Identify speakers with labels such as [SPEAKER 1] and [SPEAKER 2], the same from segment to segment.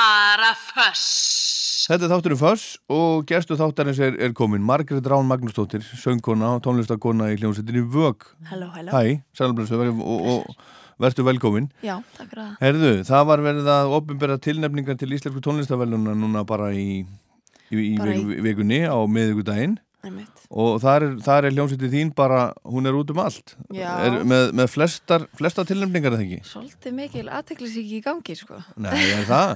[SPEAKER 1] bara föss.
[SPEAKER 2] Þetta er þátturinn Föss og gestu þáttarins er, er komin Margrét Rán Magnúsdóttir, söngkona og tónlistakona í hljómsveitinni Vög
[SPEAKER 3] Halló, halló.
[SPEAKER 2] Hæ, sælblessu og, og, og verðstu velkomin
[SPEAKER 3] Já, takk fyrir það.
[SPEAKER 2] Herðu, það var verið að opinbera tilnefningar til Íslensku tónlistaveluna núna bara í, í, í,
[SPEAKER 3] Bara í-
[SPEAKER 2] vik- vikunni á miðvikudaginn
[SPEAKER 3] Nei mitt.
[SPEAKER 2] og þar er, þar er hljómsveitin þín bara, hún er út um allt
[SPEAKER 3] Já.
[SPEAKER 2] er, með, með flestar, flestar tilnefningar er það ekki?
[SPEAKER 3] Svolítið mikil aðteklisík í gangi, sko.
[SPEAKER 2] Nei, er það?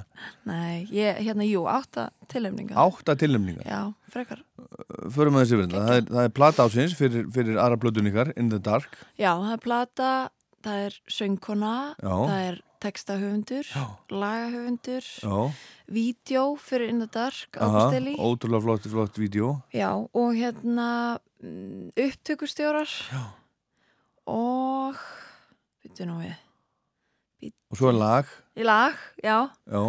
[SPEAKER 3] Nei, ég, hérna, jú, átta tilefninga.
[SPEAKER 2] Átta tilnefningar
[SPEAKER 3] Já, frekar.
[SPEAKER 2] Förum að þessi verðla, það er, það er plata ásins fyrir, fyrir aðra blödun ykkar, In the Dark
[SPEAKER 3] Já, það er plata, það er söngkona,
[SPEAKER 2] Já.
[SPEAKER 3] það er textahöfundur, lagahöfundur,
[SPEAKER 2] Já
[SPEAKER 3] vídjó fyrir In the Dark,
[SPEAKER 2] Aha,
[SPEAKER 3] ákusteli.
[SPEAKER 2] Ótrúlega flott, flott vídeo
[SPEAKER 3] Já, og hérna mm, upptökustjórar. Já. Og, byttu nú við,
[SPEAKER 2] og svo er lag
[SPEAKER 3] í lag, já.
[SPEAKER 2] já.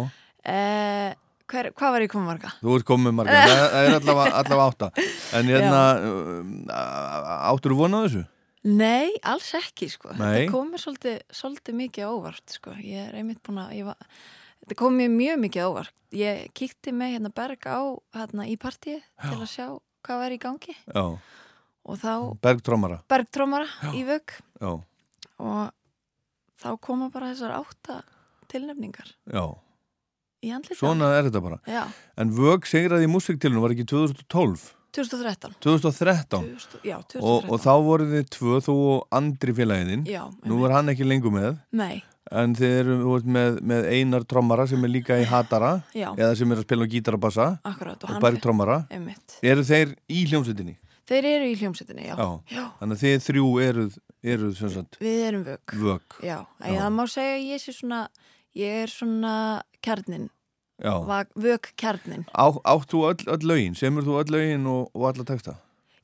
[SPEAKER 3] Eh, hver, hvað var ég komið marga?
[SPEAKER 2] Þú ert komið margar, það, það er allavega, allavega átta En hérna uh, áttur þú vona þessu?
[SPEAKER 3] Nei, alls ekki sko.
[SPEAKER 2] Nei.
[SPEAKER 3] Þetta kom mér svolítið, svolítið mikið á óvart sko. Ég er einmitt búin að, ég var, þetta kom mér mjög mikið á óvart. Ég kíkti með hérna Berg á hérna í partíi til að sjá hvað var í gangi
[SPEAKER 2] Já,
[SPEAKER 3] og þá
[SPEAKER 2] Bergtrómara
[SPEAKER 3] Bergtrómara í vögg
[SPEAKER 2] Já,
[SPEAKER 3] og þá koma bara þessar átta tilnefningar
[SPEAKER 2] já,
[SPEAKER 3] í andlita.
[SPEAKER 2] svona er þetta bara
[SPEAKER 3] Já,
[SPEAKER 2] En Vög segraði í músiktilinu var ekki 2012
[SPEAKER 3] 2013.
[SPEAKER 2] 2013
[SPEAKER 3] 2000, já, 2013.
[SPEAKER 2] og, og þá voru þið tvö, þú og Andri félagin
[SPEAKER 3] Já,
[SPEAKER 2] Nú var hann ekki lengur með
[SPEAKER 3] Nei,
[SPEAKER 2] En þið eru þú ert með, með Einar Trommara sem er líka í Hatara
[SPEAKER 3] já,
[SPEAKER 2] eða sem er að spila á gítarabassa
[SPEAKER 3] akkurát. Og,
[SPEAKER 2] og
[SPEAKER 3] hann
[SPEAKER 2] Berg
[SPEAKER 3] fer-
[SPEAKER 2] Trommara
[SPEAKER 3] Einmitt.
[SPEAKER 2] Eru þeir í hljómsveitinni?
[SPEAKER 3] Þeir eru í hljómsveitinni, já.
[SPEAKER 2] Já.
[SPEAKER 3] já.
[SPEAKER 2] Þannig að þið þrjú eruð, eruð sem sagt,
[SPEAKER 3] Við erum vögg.
[SPEAKER 2] vög.
[SPEAKER 3] Já, en það má segja að ég sé svona, ég er svona kjarnin,
[SPEAKER 2] Já.
[SPEAKER 3] vögg kjarnin.
[SPEAKER 2] Á, átt þú öll, öll lögin, semur þú öll lögin og, og alla texta?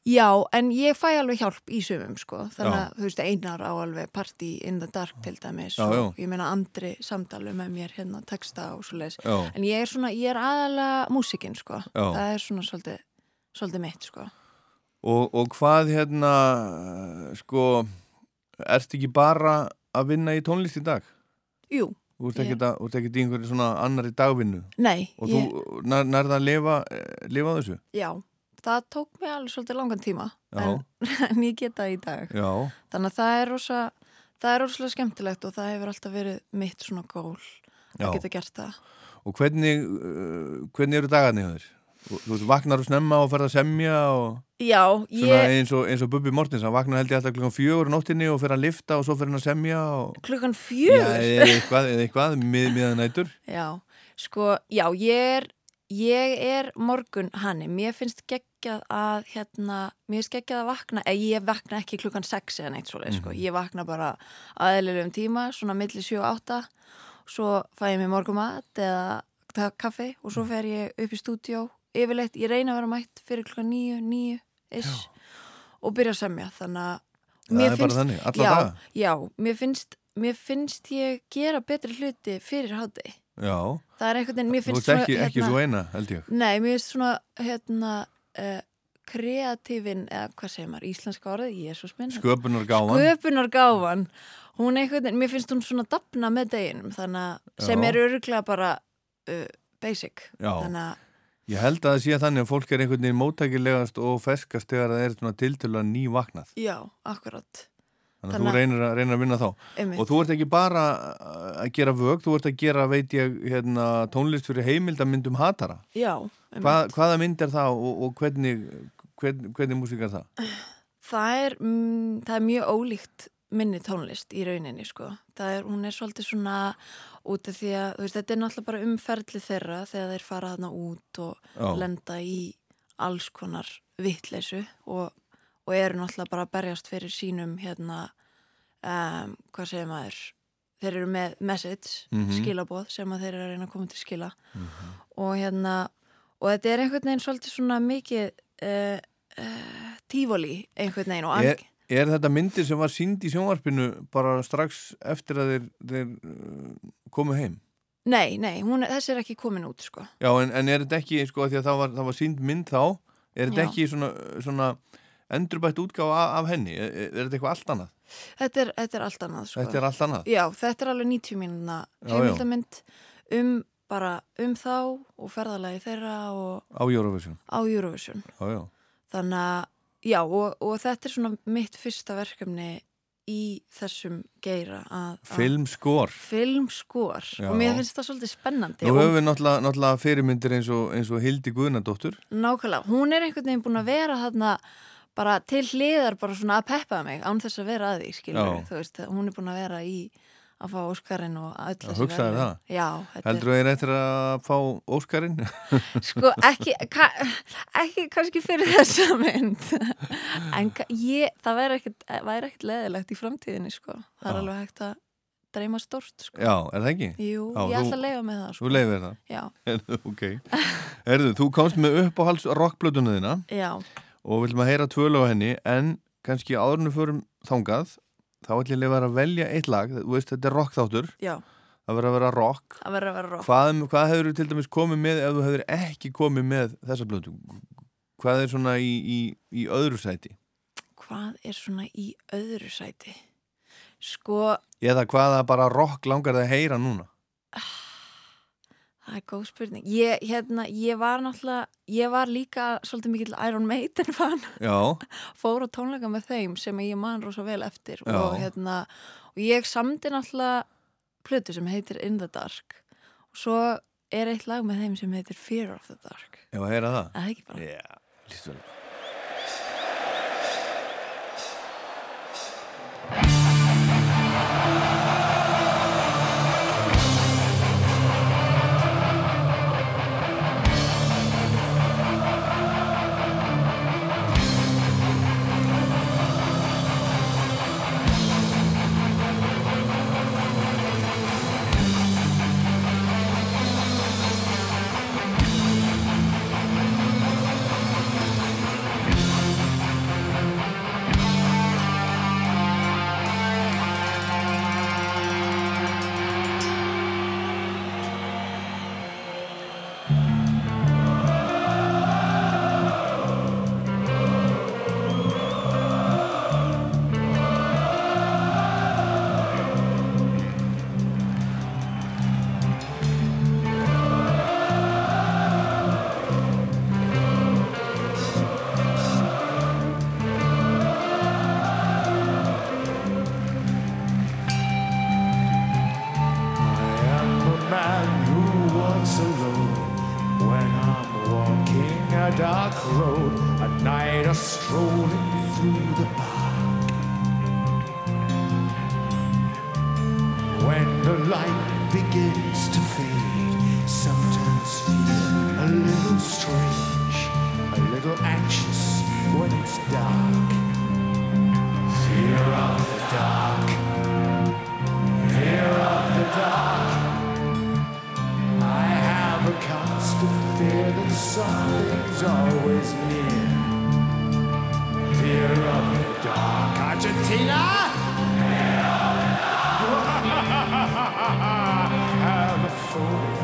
[SPEAKER 3] Já, en ég fæ alveg hjálp í sömum, sko. Þannig að, þú veist, einar á alveg party in the dark til dæmis.
[SPEAKER 2] Já,
[SPEAKER 3] og Ég meina andri samdalu með mér hérna texta og svo leiðis.
[SPEAKER 2] Já.
[SPEAKER 3] En ég er svona, ég er aðalega músikinn, sko.
[SPEAKER 2] Já.
[SPEAKER 3] Það er svona svolítið, svolítið mitt, sko.
[SPEAKER 2] Og, og hvað hérna, sko, ert ekki bara að vinna í tónlist í dag?
[SPEAKER 3] Jú,
[SPEAKER 2] Þú ert
[SPEAKER 3] Ég-
[SPEAKER 2] ekkert að- þú ert ekkert í einhverju svona annari dagvinnu
[SPEAKER 3] nei,
[SPEAKER 2] og
[SPEAKER 3] ég,
[SPEAKER 2] þú nær, nærða að lifa, eh, lifa á þessu?
[SPEAKER 3] já, það tók mig alveg svolítið langan tíma.
[SPEAKER 2] Já.
[SPEAKER 3] En, en ég geta það í dag.
[SPEAKER 2] Já,
[SPEAKER 3] Þannig að það er rosa, það er rosalega skemmtilegt og það hefur alltaf verið mitt svona gól
[SPEAKER 2] já.
[SPEAKER 3] að geta gert það.
[SPEAKER 2] Og hvernig, uh, hvernig eru dagarnir hjá þér? Þú, þú veist, vaknar og snemma og ferð að semja og...
[SPEAKER 3] Já,
[SPEAKER 2] Svona
[SPEAKER 3] ég,
[SPEAKER 2] eins, og, eins og Bubbi Mortens, hann vaknar held ég alltaf klukkan fjögur á nóttinni og fer að lifta og svo fer hann að semja og...
[SPEAKER 3] klukkan
[SPEAKER 2] Já,
[SPEAKER 3] fjögur. Já,
[SPEAKER 2] eða eitthvað, eða eitthvað, mið, miðanætur.
[SPEAKER 3] sko, já, ég er, ég er morgun hanni. Mér finnst geggjað að, hérna, mér finnst geggjað að vakna, eða ég vakna ekki klukkan 6 eða neitt svoleið,
[SPEAKER 2] Mhm.
[SPEAKER 3] sko. Ég vakna bara aðeinlegum tíma, svona milli 7 og 8, svo fæ ég mér morgumat eða ta- kaffi og
[SPEAKER 2] Mhm.
[SPEAKER 3] svo fer ég upp í stúdíó yfirleitt, ég reyna að vera mætt fyrir klukkan 9, 9 ish og byrja að semja, þannig að
[SPEAKER 2] Það
[SPEAKER 3] mér
[SPEAKER 2] er bara
[SPEAKER 3] finnst,
[SPEAKER 2] þannig, alla
[SPEAKER 3] já,
[SPEAKER 2] daga.
[SPEAKER 3] já, mér finnst mér finnst ég gera betri hluti fyrir hátegi,
[SPEAKER 2] Já,
[SPEAKER 3] það er einhvern veginn mér
[SPEAKER 2] þú
[SPEAKER 3] finnst hérna-
[SPEAKER 2] veist ekki, ekki svo eina, held ég.
[SPEAKER 3] Nei, mér finnst svona hérna uh, kreatífin eða hvað segir maður, íslenska orðið, Jésús minn
[SPEAKER 2] Sköpunar gáðan.
[SPEAKER 3] Sköpunar gáfan hún einhvern veginn, mér finnst hún svona dapna með deginum, þannig að sem
[SPEAKER 2] Já.
[SPEAKER 3] er öruglega bara uh, basic,
[SPEAKER 2] Já.
[SPEAKER 3] þannig að
[SPEAKER 2] Ég held að það sé þannig að fólk er einhvern veginn móttækilegast og ferskast þegar það er svona tiltölu ný vaknað.
[SPEAKER 3] já, akkurat
[SPEAKER 2] Þannig að
[SPEAKER 3] Þannig
[SPEAKER 2] þú
[SPEAKER 3] að-
[SPEAKER 2] reynir að, reynir að vinna þá.
[SPEAKER 3] einmitt,
[SPEAKER 2] Og þú ert ekki bara að gera vög, þú ert að gera, veit ég, hérna, tónlist fyrir heimildamyndum hatara.
[SPEAKER 3] já, einmitt.
[SPEAKER 2] Hva, hvaða mynd er það og, og hvernig, hvernig, hvernig músík er það?
[SPEAKER 3] það er, mm, það er mjög ólíkt minni tónlist í rauninni sko. það er, hún er svolítið svona út af því að, þú veist, þetta er náttúrulega bara umferðli þeirra þegar þeir fara þarna út og
[SPEAKER 2] Já.
[SPEAKER 3] lenda í alls konar vittleysu og, og eru náttúrulega bara að berjast fyrir sínum hérna um, hvað segir maður þeir eru með message,
[SPEAKER 2] Mhm.
[SPEAKER 3] skilaboð sem að þeir eru að reyna að koma til skila og hérna og þetta er einhvern veginn svolítið svona mikið uh, uh, tífóli einhvern veginn og
[SPEAKER 2] Er,
[SPEAKER 3] ang...
[SPEAKER 2] er þetta myndir sem var sínd í sjónvarpinu bara strax eftir að þeir, þeir uh, komu heim?
[SPEAKER 3] nei, nei, hún, þessi er ekki komin út sko.
[SPEAKER 2] Já, en, en er þetta ekki, sko, af því að það var, það var sínd mynd þá, er þetta
[SPEAKER 3] Já.
[SPEAKER 2] ekki svona, svona endurbætt útgáfa af, af henni? Er, er þetta eitthvað allt annað?
[SPEAKER 3] þetta, er, þetta er allt annað sko.
[SPEAKER 2] Þetta er allt annað?
[SPEAKER 3] já, þetta er alveg 90 mínuna
[SPEAKER 2] Já, já.
[SPEAKER 3] heimildamynd um bara um þá og ferðalagi þeirra og
[SPEAKER 2] á Eurovision
[SPEAKER 3] á Eurovision
[SPEAKER 2] já, já.
[SPEAKER 3] þannig að já og, og þetta er svona mitt fyrsta verkefni í þessum geira að, að
[SPEAKER 2] filmskor
[SPEAKER 3] filmskor
[SPEAKER 2] Já.
[SPEAKER 3] og mér finnst það svolítið spennandi
[SPEAKER 2] Nú
[SPEAKER 3] og
[SPEAKER 2] höfum við náttúrulega, náttúrulega fyrirmyndir eins og, eins og Hildi Guðnadóttur
[SPEAKER 3] nákvæmlega, hún er einhvern veginn búin að vera þarna bara til hliðar bara svona að peppa mig án þess að vera að því skilur,
[SPEAKER 2] Já.
[SPEAKER 3] þú veist, hún er búin að vera í að fá Óskarinn og öll þessi
[SPEAKER 2] hugsaðu
[SPEAKER 3] verðlaun.
[SPEAKER 2] það.
[SPEAKER 3] Já, þetta er-
[SPEAKER 2] Heldur þú að ég reyttir að fá Óskarinn?
[SPEAKER 3] Sko, ekki, ka, ekki kannski fyrir þessa mynd en ka, ég, það væri ekkit, væri ekkit leðilegt í framtíðinni, sko það er
[SPEAKER 2] Já.
[SPEAKER 3] alveg hægt að dreyma stórt, sko
[SPEAKER 2] Já, er það ekki?
[SPEAKER 3] Jú,
[SPEAKER 2] Já,
[SPEAKER 3] ég
[SPEAKER 2] þú-
[SPEAKER 3] ætla að leifa með það, sko
[SPEAKER 2] Svo leifir það
[SPEAKER 3] Já,
[SPEAKER 2] Heyrðu, ok Herðu, þú komst með uppáhalds rockblötuna þína
[SPEAKER 3] já,
[SPEAKER 2] og viljum að heyra tvölu á henni en kannski áðurinu förum þangað þá ætlum ég að leyfa þér að velja eitt lag þú veist þetta er rock þáttur,
[SPEAKER 3] já,
[SPEAKER 2] það verður að vera rock
[SPEAKER 3] það verður að vera rock
[SPEAKER 2] hvað, um- hvað hefur þú til dæmis komið með ef þú hefur ekki komið með þessa blötu hvað er svona í, í, í öðru sæti
[SPEAKER 3] Hvað er svona í öðru sæti? Sko,
[SPEAKER 2] eða hvaða bara rock langar það að heyra núna
[SPEAKER 3] það er góð spurning Ég, hérna, ég var náttúrulega ég var líka svolítið mikill Iron Maiden fan
[SPEAKER 2] já,
[SPEAKER 3] fór á tónleika með þeim sem ég man rosa vel eftir
[SPEAKER 2] Já.
[SPEAKER 3] og, hérna, og ég samdi náttúrulega plötu sem heitir In the Dark og svo er eitt lag með þeim sem heitir Fear of the Dark
[SPEAKER 2] ef að heyra það
[SPEAKER 3] Er Það er ekki bara
[SPEAKER 2] já, líst vel
[SPEAKER 4] I am the man who walks alone when I'm walking a dark road. At night, I'm strolling through the park. When the light begins to fade, sometimes feel a little strange, a little anxious when it's dark. Fear of the dark. Fear of the dark. I have a constant fear that something's always near. Fear of the dark. Argentina! have a phobia.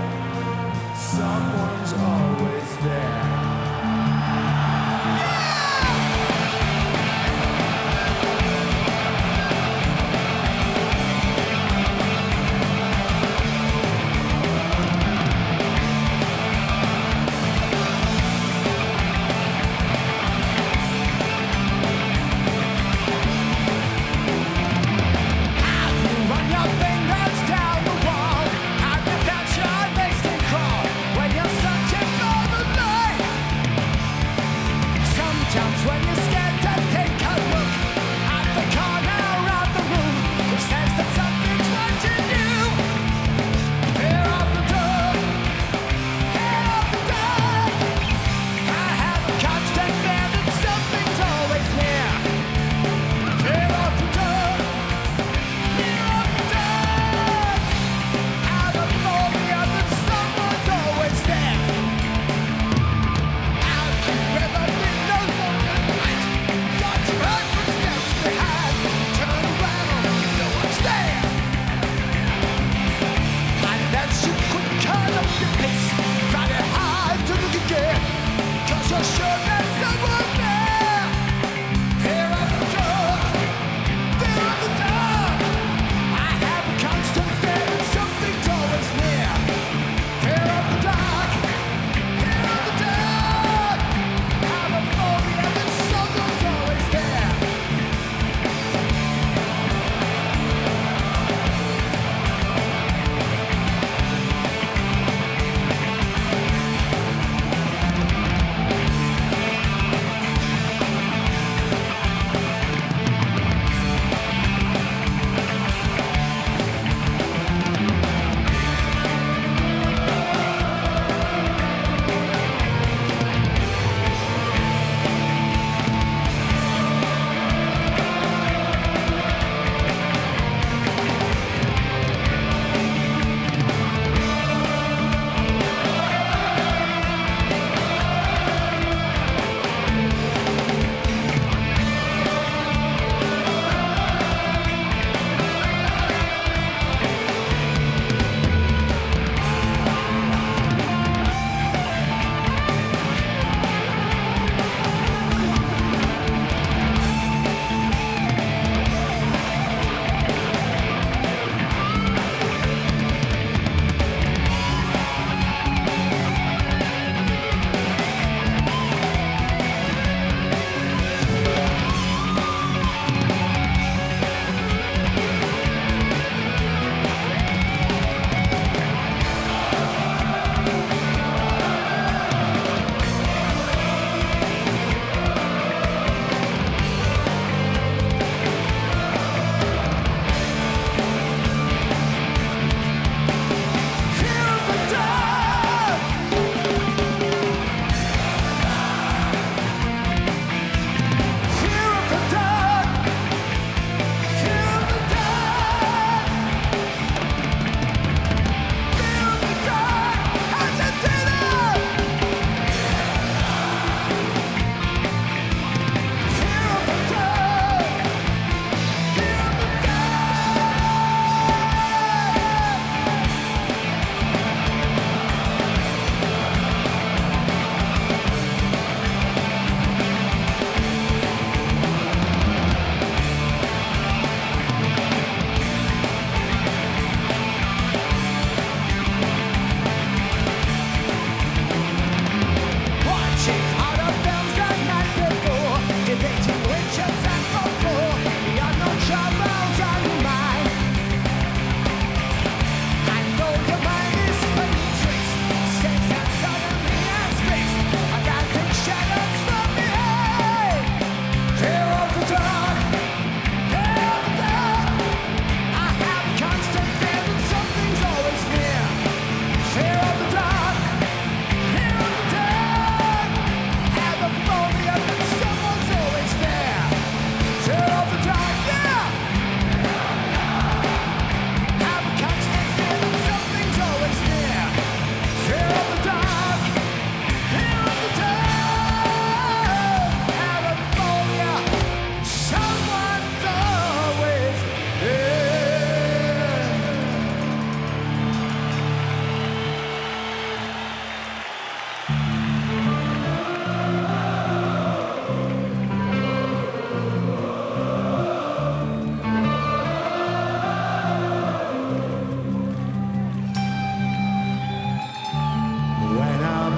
[SPEAKER 4] Someone's always there. Run your fingers down the wall. I've got that child makes me crawl. When you're searching for the light. Sometimes when you're scared to take a look at the corner of the room, it says that something's watching you. Fear of the dark. Fear of the dark. I have a constant fear that something's always near. Fear of the dark. Cause you're sure there's someone there Here at the door Fear of the dark. I have a constant fear that something's always near. Fear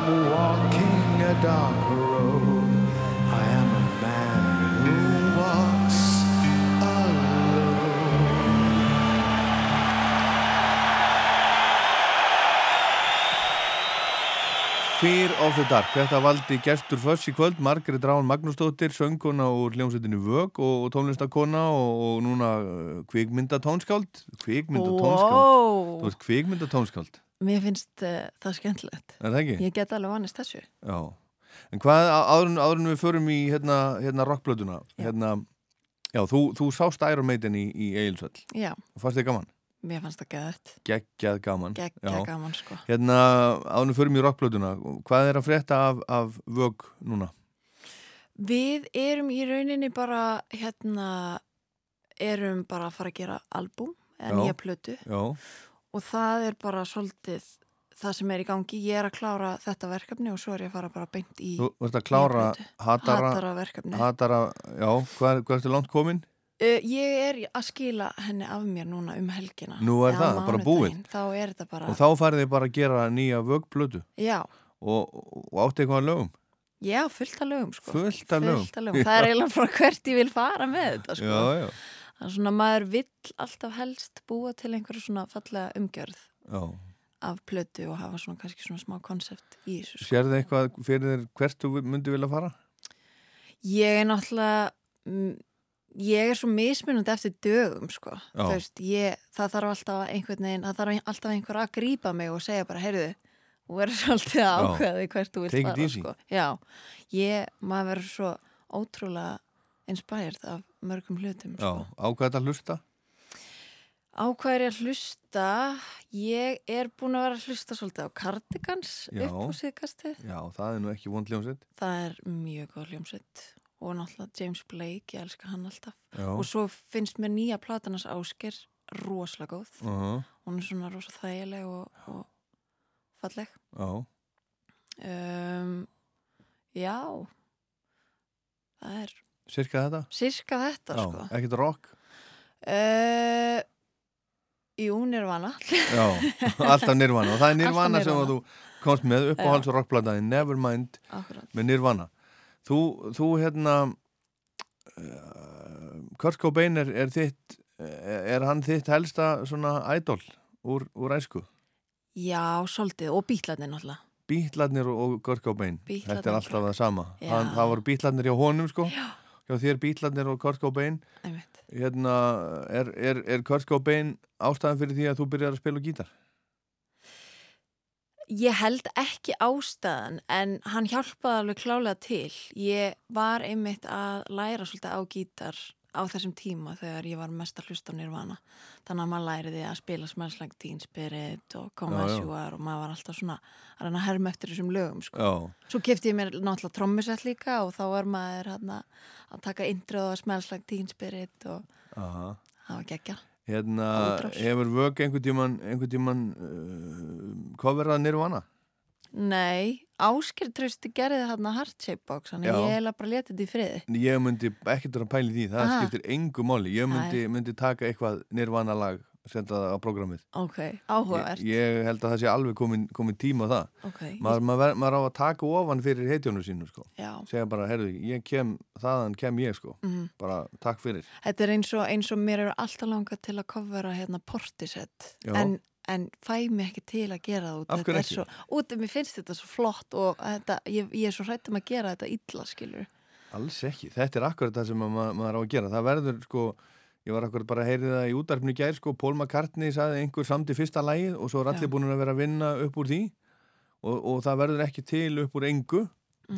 [SPEAKER 4] a dark road. I am a man who walks alone.
[SPEAKER 2] Fear of the Dark, þetta valdi gestur föss í kvöld, Margrét Rán Magnúsdóttir, sönguna úr hljómsveitinu Vög og, og tónlistakona og, og núna uh, kvikmyndatónskáld, kvikmyndatónskáld, þú
[SPEAKER 3] Wow,
[SPEAKER 2] ert kvikmyndatónskáld,
[SPEAKER 3] mér finnst uh, það skemmtilegt.
[SPEAKER 2] er það ekki?
[SPEAKER 3] Ég get alveg vanist þessu.
[SPEAKER 2] Já, en hvað á- áður, en- áður en við förum í hérna, hérna rockblötuna,
[SPEAKER 3] Já.
[SPEAKER 2] hérna, já, þú, þú sást Iron Maiden í, í Egilsvöll
[SPEAKER 3] Já,
[SPEAKER 2] og fannst þið gaman,
[SPEAKER 3] mér fannst það geðvægt.
[SPEAKER 2] geggjað gaman,
[SPEAKER 3] Geggja gaman sko.
[SPEAKER 2] Hérna, áður en við förum í rockblötuna, hvað er að frétta af, af Vög núna?
[SPEAKER 3] Við erum í rauninni bara, hérna, erum bara að fara að gera albúm,
[SPEAKER 2] Já.
[SPEAKER 3] eða nýja plötu
[SPEAKER 2] Já,
[SPEAKER 3] og það er bara svolítið það sem er í gangi. Ég er að klára þetta verkefni og svo er ég að fara bara beint í
[SPEAKER 2] þú ert að klára
[SPEAKER 3] plötu.
[SPEAKER 2] hatara,
[SPEAKER 3] hatara verkefni.
[SPEAKER 2] hatara, já, hvað, er- hvað ertu langt komin?
[SPEAKER 3] Uh, ég er að skila henni af mér núna um helgina.
[SPEAKER 2] Nú er
[SPEAKER 3] Eða
[SPEAKER 2] það, bara búið.
[SPEAKER 3] mánudaginn. Þá er þetta bara,
[SPEAKER 2] Og þá farið þið bara að gera nýja vögblötu
[SPEAKER 3] já,
[SPEAKER 2] og, og átti eitthvað að lögum.
[SPEAKER 3] já, fullt að lögum sko.
[SPEAKER 2] Fullt af lögum.
[SPEAKER 3] Það er eiginlega frá hvert ég vil fara með þetta sko.
[SPEAKER 2] Já, já,
[SPEAKER 3] Það er svona, maður vill alltaf helst búa til einhverja svona fallega umgjörð
[SPEAKER 2] já.
[SPEAKER 3] af plötu og hafa svona kannski svona smá konsept í þessu sko.
[SPEAKER 2] Sérðu eitthvað fyrir þér hvert þú myndi vilja fara?
[SPEAKER 3] Ég er náttúrulega, mm, ég er svo mismunandi eftir dögum sko.
[SPEAKER 2] Já.
[SPEAKER 3] Þú veist, ég, það þarf alltaf að einhvern veginn, það þarf alltaf einhver að grípa mig og segja bara, heyrðu, þú verður svolítið að
[SPEAKER 2] Já.
[SPEAKER 3] ákveða því hvert þú vilt
[SPEAKER 2] Take it
[SPEAKER 3] fara
[SPEAKER 2] easy.
[SPEAKER 3] sko. Já, ég, maður verður svo ótrúlega inspired af mörgum hlutum
[SPEAKER 2] Já,
[SPEAKER 3] sko.
[SPEAKER 2] á hvað þetta hlusta?
[SPEAKER 3] Á hvað er ég að hlusta? Ég er búin að vera að hlusta svolítið á Cardigans
[SPEAKER 2] Já.
[SPEAKER 3] upp á síðkastið.
[SPEAKER 2] Já, það er nú ekki vond ljómsett.
[SPEAKER 3] Það er mjög góð hljómsveit og náttúrulega James Blake, ég elska hann alltaf.
[SPEAKER 2] Já,
[SPEAKER 3] Og svo finnst mér nýja platanars ásker rosalega góð.
[SPEAKER 2] uh
[SPEAKER 3] Hún er svona rosa þægileg og, og falleg.
[SPEAKER 2] já.
[SPEAKER 3] Um, já, það er
[SPEAKER 2] Sirka þetta?
[SPEAKER 3] sirka þetta
[SPEAKER 2] já,
[SPEAKER 3] sko.
[SPEAKER 2] ekkert rock?
[SPEAKER 3] Uh, jú, nirvana.
[SPEAKER 2] Já, alltaf nirvana. Og það er nirvana sem
[SPEAKER 3] Nirvana.
[SPEAKER 2] að þú komst með upp á
[SPEAKER 3] Já.
[SPEAKER 2] hals og rockblataði Nevermind
[SPEAKER 3] Akkurat.
[SPEAKER 2] með Nirvana þú, þú hérna uh, Kurt Cobain er, er þitt er hann þitt helsta svona idol úr, úr æsku
[SPEAKER 3] Já, svolítið og bílarnir náttúrulega.
[SPEAKER 2] Bítlarnir og Kurt Cobain
[SPEAKER 3] Bítlarnir
[SPEAKER 2] þetta er
[SPEAKER 3] og
[SPEAKER 2] alltaf það sama
[SPEAKER 3] Já.
[SPEAKER 2] hann, það voru bítlarnir hjá honum sko já. hjá þér bítlarnir og Kurt Cobain
[SPEAKER 3] Einmitt.
[SPEAKER 2] hérna, er, er, er Kurt Cobain ástæðan fyrir því að þú byrjar að spila á gítar
[SPEAKER 3] Ég held ekki ástæðan en hann hjálpaði alveg klálega til. Ég var einmitt að læra svolítið á gítar á þessum tíma þegar ég var mest að hlusta á nýrvana. Þannig að maður læriði að spila smelslægt Teen Spirit og Come
[SPEAKER 2] Já,
[SPEAKER 3] As
[SPEAKER 2] já.
[SPEAKER 3] You Are og maður var alltaf svona að reyna að herma eftir þessum lögum. Sko.
[SPEAKER 2] já,
[SPEAKER 3] Svo kefti ég mér náttúrulega trommusett líka og þá var maður hana, að taka indröð og smelslægt Teen Spirit og
[SPEAKER 2] aha
[SPEAKER 3] það var geggja.
[SPEAKER 2] Hérna,
[SPEAKER 3] Útrás.
[SPEAKER 2] hefur vögg einhvern tíman, einhvern tíman uh, hvað verða nirvana?
[SPEAKER 3] Nei, Ásker trösti gerði þarna heart-shape box þannig
[SPEAKER 2] Já.
[SPEAKER 3] að ég heila bara letið þetta í friði.
[SPEAKER 2] Ég myndi ekkert vera að pæla í því, það
[SPEAKER 3] Ah.
[SPEAKER 2] skiptir engu máli. Ég myndi, myndi taka eitthvað nirvana lag og senda það á prógramið.
[SPEAKER 3] Ok,
[SPEAKER 2] Ég,
[SPEAKER 3] áhugavert.
[SPEAKER 2] ég held að það sé alveg komin, komin tíma á það.
[SPEAKER 3] ok,
[SPEAKER 2] Maður, maður, ver- maður á að taka ofan fyrir heitjónu sínu, sko.
[SPEAKER 3] já.
[SPEAKER 2] Segja bara, herðu, ég kem, þaðan kem ég, sko.
[SPEAKER 3] Mm.
[SPEAKER 2] Bara takk fyrir.
[SPEAKER 3] Þetta er eins og, eins og mér eru alltaf langað til að kofvera hérna portisett
[SPEAKER 2] Já.
[SPEAKER 3] en, en fæ mig ekki til að gera það út.
[SPEAKER 2] Af hverju
[SPEAKER 3] Þetta er
[SPEAKER 2] ekki?
[SPEAKER 3] Svo, út af mér finnst þetta svo flott og þetta, ég, ég er svo hrætt um að gera þetta illa, skilur.
[SPEAKER 2] Alls ekki. Þetta er akkurat það sem að ma maður á að gera. Það verður, sko, ég var akkurat bara að heyri það í útarpinu gær, sko, Paul McCartney saði einhver samt í fyrsta lagið og svo er allir
[SPEAKER 3] Já.
[SPEAKER 2] búin að vera að vinna upp úr því og, og það verður ekki til upp úr engu.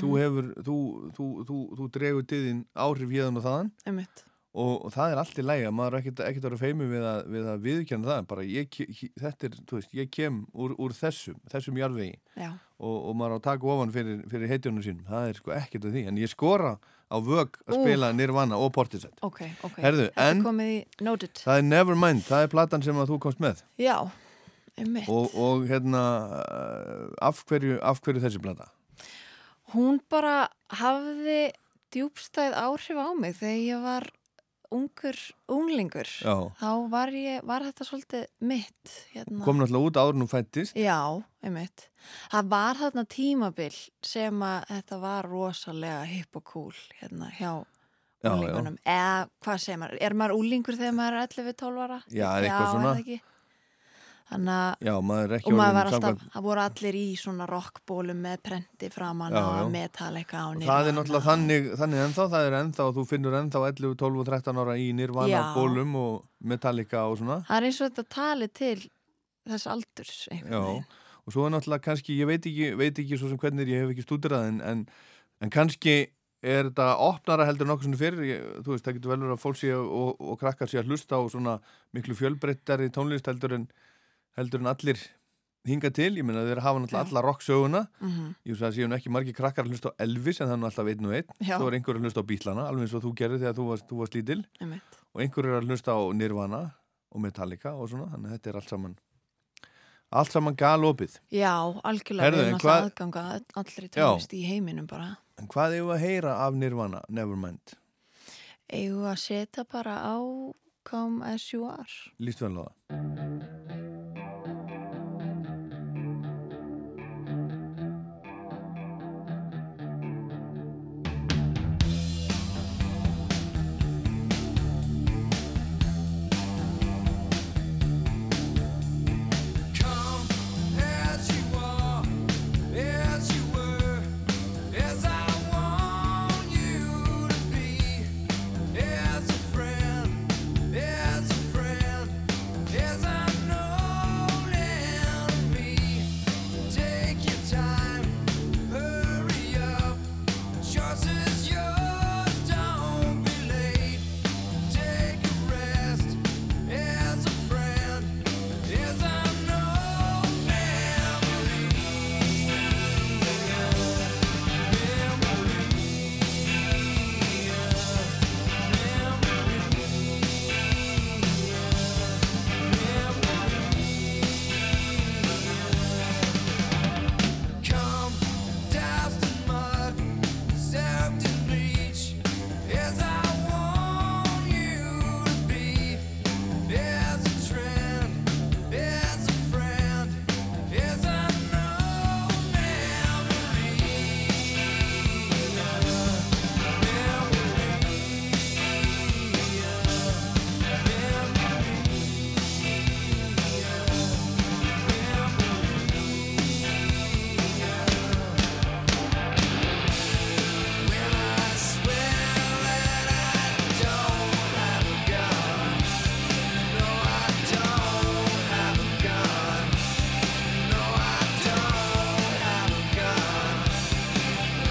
[SPEAKER 2] þú hefur, þú, þú, þú, þú dregur til þín áhrif hérðan og þaðan
[SPEAKER 3] Einmitt.
[SPEAKER 2] og, og það er allt í lægi að maður er ekkert, ekkert að vera feimi við að, við að viðkjana það bara ég, ke- he- þetta er, þú veist, ég kem úr, úr þessum, þessum jarðvegi
[SPEAKER 3] Já,
[SPEAKER 2] og, og maður á að taka ofan fyrir, fyrir heitjónu sínum það er sko ekkert að því, en ég skora á vög að
[SPEAKER 3] Ú.
[SPEAKER 2] spila Nirvana og Portishead
[SPEAKER 3] ok, ok.
[SPEAKER 2] Herðu,
[SPEAKER 3] þetta
[SPEAKER 2] en-
[SPEAKER 3] er komið í noted.
[SPEAKER 2] það er Nevermind, það er platan sem að þú komst með
[SPEAKER 3] Já, einmitt.
[SPEAKER 2] og, og hérna eh, af hverju, af hverju þessi plata?
[SPEAKER 3] hún bara hafði djúbstæð áhrif á mig þegar ég var ungur, unglingur
[SPEAKER 2] Já.
[SPEAKER 3] þá var, ég, var þetta svolítið mitt hérna.
[SPEAKER 2] Kom náttúrulega út áður nú fættist.
[SPEAKER 3] Já, einmitt. Það var þarna tímabil sem að þetta var rosalega hipp og cool hérna hjá
[SPEAKER 2] Já,
[SPEAKER 3] úlingunum. Eða hvað segir maður? Er maður úlingur þegar maður er 11-12 ára?
[SPEAKER 2] Já, eitthvað
[SPEAKER 3] er það
[SPEAKER 2] svona.
[SPEAKER 3] ekki? Þannig að
[SPEAKER 2] Já, maður er ekki
[SPEAKER 3] og maður
[SPEAKER 2] orðinn
[SPEAKER 3] var alltaf,
[SPEAKER 2] samkvæmt-
[SPEAKER 3] það voru allir í svona rockbólum með prenti framan
[SPEAKER 2] Já,
[SPEAKER 3] og
[SPEAKER 2] já.
[SPEAKER 3] metalika á
[SPEAKER 2] Og
[SPEAKER 3] nýrvana.
[SPEAKER 2] Það er náttúrulega þannig, þannig ennþá, það er ennþá, þú finnur ennþá 11, 12 og 13 ára í nirvana
[SPEAKER 3] Já.
[SPEAKER 2] bólum og Metallica og svona.
[SPEAKER 3] Það er eins og þetta tali til þess aldurs einhvern
[SPEAKER 2] Já,
[SPEAKER 3] veginn.
[SPEAKER 2] og svo er náttúrulega kannski, ég veit ekki, veit ekki svo sem hvernig er, ég hef ekki stúderað en, en, en kannski er þetta opnara heldur nokkuð svona fyrir, ég, þú veist, það getur vel verið að fólk sé og, og krakkar sé að hlusta á svona miklu fjölbreyttari tónlist heldur en, heldur en allir hinga til, ég meina þeir hafa náttúrulega alla rocksöguna,
[SPEAKER 3] Mhm.
[SPEAKER 2] ég veist að það séu nú ekki margir krakkar að hlusta á Elvis en það er nú alltaf einn og einn,
[SPEAKER 3] Já.
[SPEAKER 2] svo er einhver að hlusta á bílana, alveg eins og þú gerir þegar þú varst, þú varst lítil
[SPEAKER 3] einmitt.
[SPEAKER 2] og einhver er að hlusta á Nirvana og Metallica og svona, þannig að þetta er allt saman allt saman galopið
[SPEAKER 3] Já, algjörlega
[SPEAKER 2] Herðu,
[SPEAKER 3] við erum
[SPEAKER 2] en
[SPEAKER 3] alltaf
[SPEAKER 2] hvað-
[SPEAKER 3] aðganga allri
[SPEAKER 2] Já.
[SPEAKER 3] tónlist í heiminum bara.
[SPEAKER 2] en hvað eigum við að heyra af Nirvana, Nevermind
[SPEAKER 3] eigum við að setja bara á come as you are
[SPEAKER 2] lístu hann loða
[SPEAKER 4] Come as you are, as you were, as I want you to be, as a friend, as a friend, as I know in me. Take your time, hurry up, choice is yours, don't be late. Take a rest as a friend, as I know Come doused in mud, served in bleach, as I want you to be. There's a trend, there's a friend, as I know memory, I swear that I don't have a gun. No, I don't have a gun. No, I don't have a gun.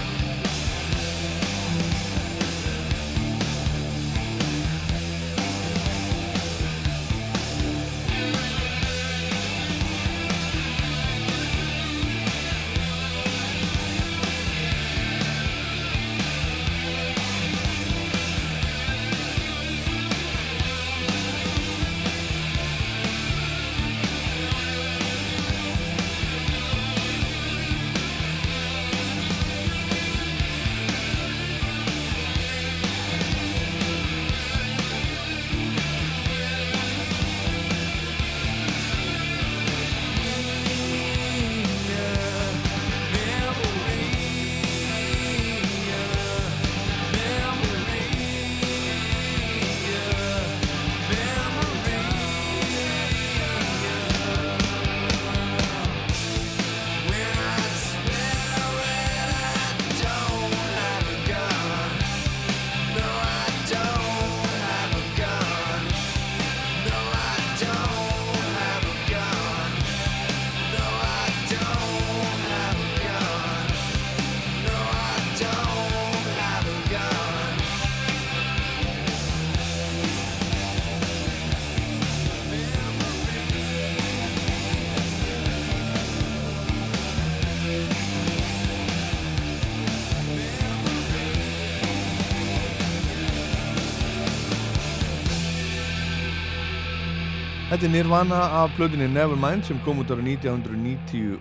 [SPEAKER 2] Þetta er Nirvana af blöðinni Nevermind sem kom út ára 1991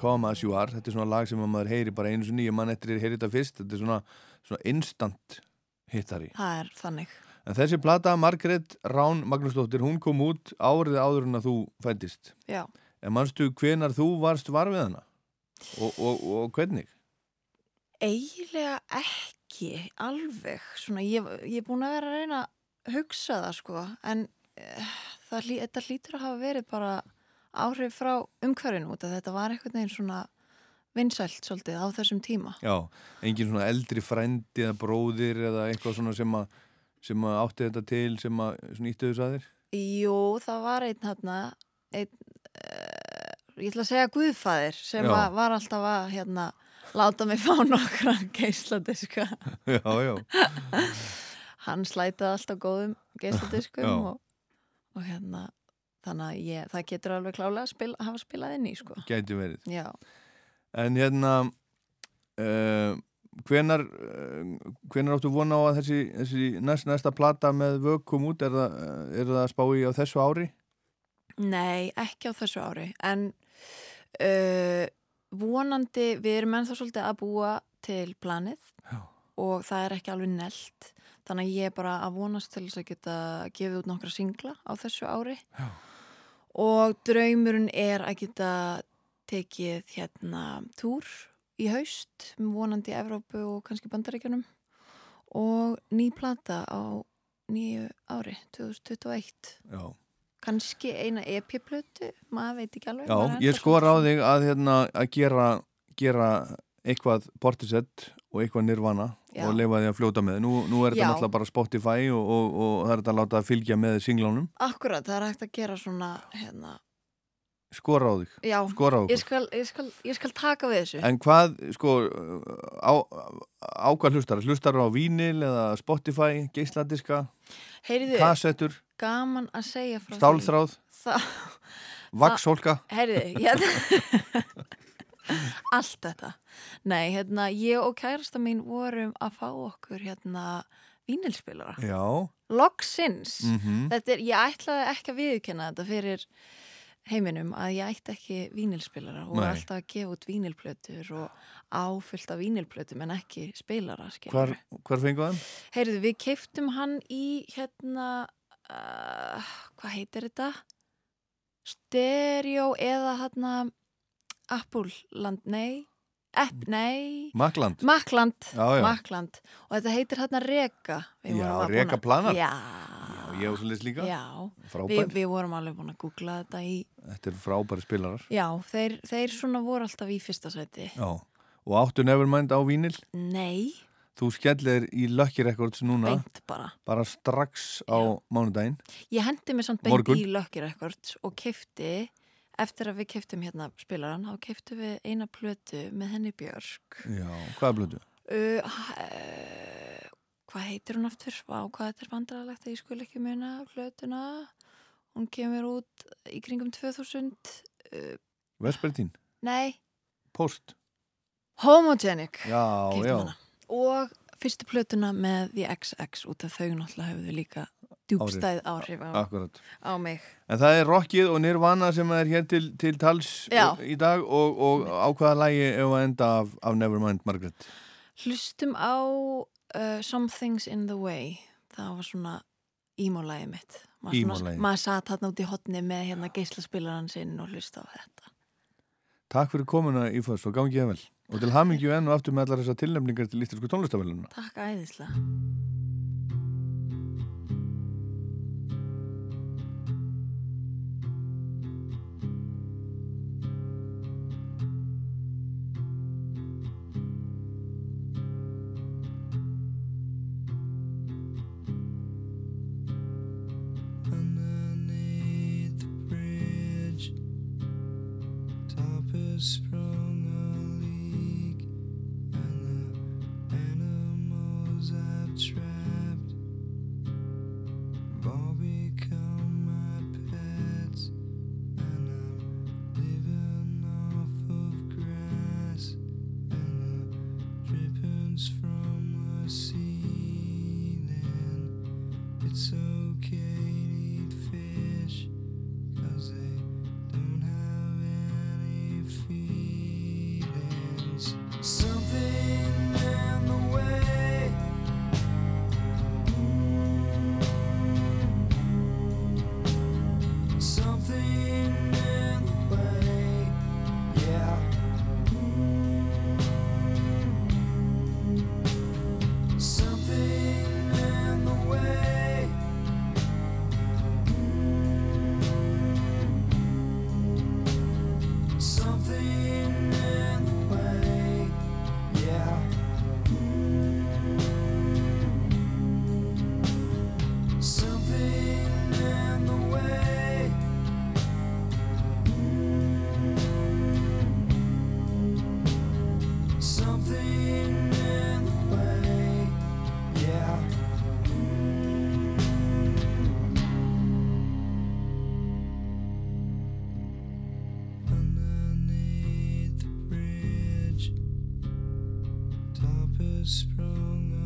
[SPEAKER 2] Come As You Are þetta er svona lag sem að maður heyri bara einu sinni, ég mann eftir ég heyri þetta fyrst þetta er svona, svona instant hittari.
[SPEAKER 3] það er þannig
[SPEAKER 2] En þessi plata, Margrét Rán Magnúsdóttir, hún kom út árið áður en að þú fættist.
[SPEAKER 3] já.
[SPEAKER 2] En manstu hvenar þú varst var við hana? Og, og, og hvernig?
[SPEAKER 3] eiginlega ekki alveg svona, ég, ég er búin að vera að reyna að hugsa það sko en uh, það, hlý- þetta hlýtur að hafa verið bara áhrif frá umhverfinu út að þetta var einhvern veginn svona vinsælt svolítið á þessum tíma
[SPEAKER 2] Já, engin svona eldri frændi eða bróðir eða eitthvað svona sem að sem að átti þetta til, sem að svona íttu þess að þér?
[SPEAKER 3] Jú, það var einn hérna einn, uh, ég ætla að segja guðfæðir sem
[SPEAKER 2] Já.
[SPEAKER 3] að, var alltaf að hérna, láta mig fá nokkra geisladiska
[SPEAKER 2] Já, já.
[SPEAKER 3] hann slætaði alltaf góðum geisladiskum
[SPEAKER 2] Já.
[SPEAKER 3] og, og hérna þannig að ég, það getur alveg klálega að spila, hafa spilað inn í sko
[SPEAKER 2] Gæti verið.
[SPEAKER 3] Já,
[SPEAKER 2] En hérna, uh, hvenar, uh, hvenar áttu vona á að þessi, þessi næst, næsta plata með vök kom út? Er það, uh, er það að spá í á þessu ári?
[SPEAKER 3] nei, ekki á þessu ári en uh, vonandi, við erum ennþá svolítið að búa til planið
[SPEAKER 2] Já.
[SPEAKER 3] og það er ekki alveg nelt þannig að ég er bara að vonast til þess að geta gefið út nokkra singla á þessu ári
[SPEAKER 2] Já.
[SPEAKER 3] og draumurinn er að geta tekið hérna túr í haust vonandi í Evrópu og kannski Bandaríkjunum og ný plata á nýju ári 2021
[SPEAKER 2] Já.
[SPEAKER 3] kannski eina EP-plötu maður veit ekki alveg
[SPEAKER 2] Já,
[SPEAKER 3] maður er
[SPEAKER 2] ég
[SPEAKER 3] ennþá
[SPEAKER 2] skor á
[SPEAKER 3] svolítið-
[SPEAKER 2] þig að, hérna, að gera, gera eitthvað portisett og eitthvað nirvana
[SPEAKER 3] Já.
[SPEAKER 2] og leifa því að fljóta með. Nú, nú er þetta
[SPEAKER 3] Já.
[SPEAKER 2] náttúrulega bara Spotify og, og, og það er þetta að láta það fylgja með singlánum.
[SPEAKER 3] Akkurat, það er hægt að gera svona hérna,
[SPEAKER 2] Skor á þig,
[SPEAKER 3] já,
[SPEAKER 2] skor á
[SPEAKER 3] ég
[SPEAKER 2] okkur.
[SPEAKER 3] skal, ég, skal, ég skal taka við þessu
[SPEAKER 2] En hvað, sko, á, á hvað hlustar? Hlustar á vínil eða Spotify, geisladiska,
[SPEAKER 3] Heyriðu,
[SPEAKER 2] kassettur,
[SPEAKER 3] gaman að segja frá
[SPEAKER 2] stálþráð,
[SPEAKER 3] því Þá,
[SPEAKER 2] vaksholka?
[SPEAKER 3] Herriði, ég Allt þetta Nei, hérna, ég og kærasta mín vorum að fá okkur hérna vínilspilara
[SPEAKER 2] Já,
[SPEAKER 3] Loksins
[SPEAKER 2] mm
[SPEAKER 3] Þetta er, ég ætlaði ekki að viðkenna þetta fyrir heiminum að ég ætti ekki vínilspilara og
[SPEAKER 2] Nei.
[SPEAKER 3] var alltaf að gefa út vínilplötur og áfyllt af vínilplötum en ekki spilara
[SPEAKER 2] hvar, hvar fengu það?
[SPEAKER 3] Heyrðu, við keiftum hann í hérna, uh, hvað heitir þetta? Stereo eða hérna Appulland, nei, App, nei,
[SPEAKER 2] Makland?
[SPEAKER 3] Makland,
[SPEAKER 2] Mm. Já, já.
[SPEAKER 3] Makland. Og þetta heitir hérna Reka. Við
[SPEAKER 2] Já,
[SPEAKER 3] vorum að
[SPEAKER 2] Reka
[SPEAKER 3] búna-
[SPEAKER 2] Planet.
[SPEAKER 3] Já,
[SPEAKER 2] Já, ég á svolítið líka.
[SPEAKER 3] já. Við,
[SPEAKER 2] Frábær.
[SPEAKER 3] við vorum alveg búin að googla þetta í,
[SPEAKER 2] Þetta er frábæri spilarar.
[SPEAKER 3] já, þeir, þeir svona voru alltaf í fyrsta sæti.
[SPEAKER 2] Já. Og áttu Nevermind á vínil?
[SPEAKER 3] Nei,
[SPEAKER 2] Þú skellir í Lucky Records núna,
[SPEAKER 3] beint bara.
[SPEAKER 2] bara strax á mánudaginn.
[SPEAKER 3] Ég hendi mig samt beint
[SPEAKER 2] Morgun.
[SPEAKER 3] í Lucky Records og kefti, eftir að við keftum hérna spilaran, þá keftum við eina plötu með henni Björk.
[SPEAKER 2] Já, hvað er blötu?
[SPEAKER 3] Uh, uh, hvað heitir hún aftur? Vá, hvað þetta er vandrarlegt að ég skul ekki muna plötuna. Hún kemur út í kringum 2000. Uh,
[SPEAKER 2] Vespertín,
[SPEAKER 3] nei,
[SPEAKER 2] Post.
[SPEAKER 3] Homogenic.
[SPEAKER 2] Já,
[SPEAKER 3] Keyptum
[SPEAKER 2] já.
[SPEAKER 3] hana. Og fyrstu plötuna með The XX út af þau náttúrulega höfðu líka djúbstæð áhrif á,
[SPEAKER 2] Akkurat.
[SPEAKER 3] á mig.
[SPEAKER 2] En það er rockið og Nirvana sem er hér til, til tals
[SPEAKER 3] Já.
[SPEAKER 2] í dag og, og á hvaða lægi ef að enda af, af Nevermind, Margaret?
[SPEAKER 3] Hlustum á uh, Some Things in the Way það var svona ímólægið mitt maður, svona-
[SPEAKER 2] Emo-lagið.
[SPEAKER 3] maður satt hann út í hotni með hérna geislaspilaran sinn og hlusta á þetta
[SPEAKER 2] Takk fyrir komuna í fyrst og gangi ég vel. Og til hamingju enn og aftur með allar þessar tilnefningar til Íslandsku tónlistaveluna.
[SPEAKER 3] Takk æðislega
[SPEAKER 5] Underneath the bridge, top has sprung a leak, and the animals I've trapped is sprung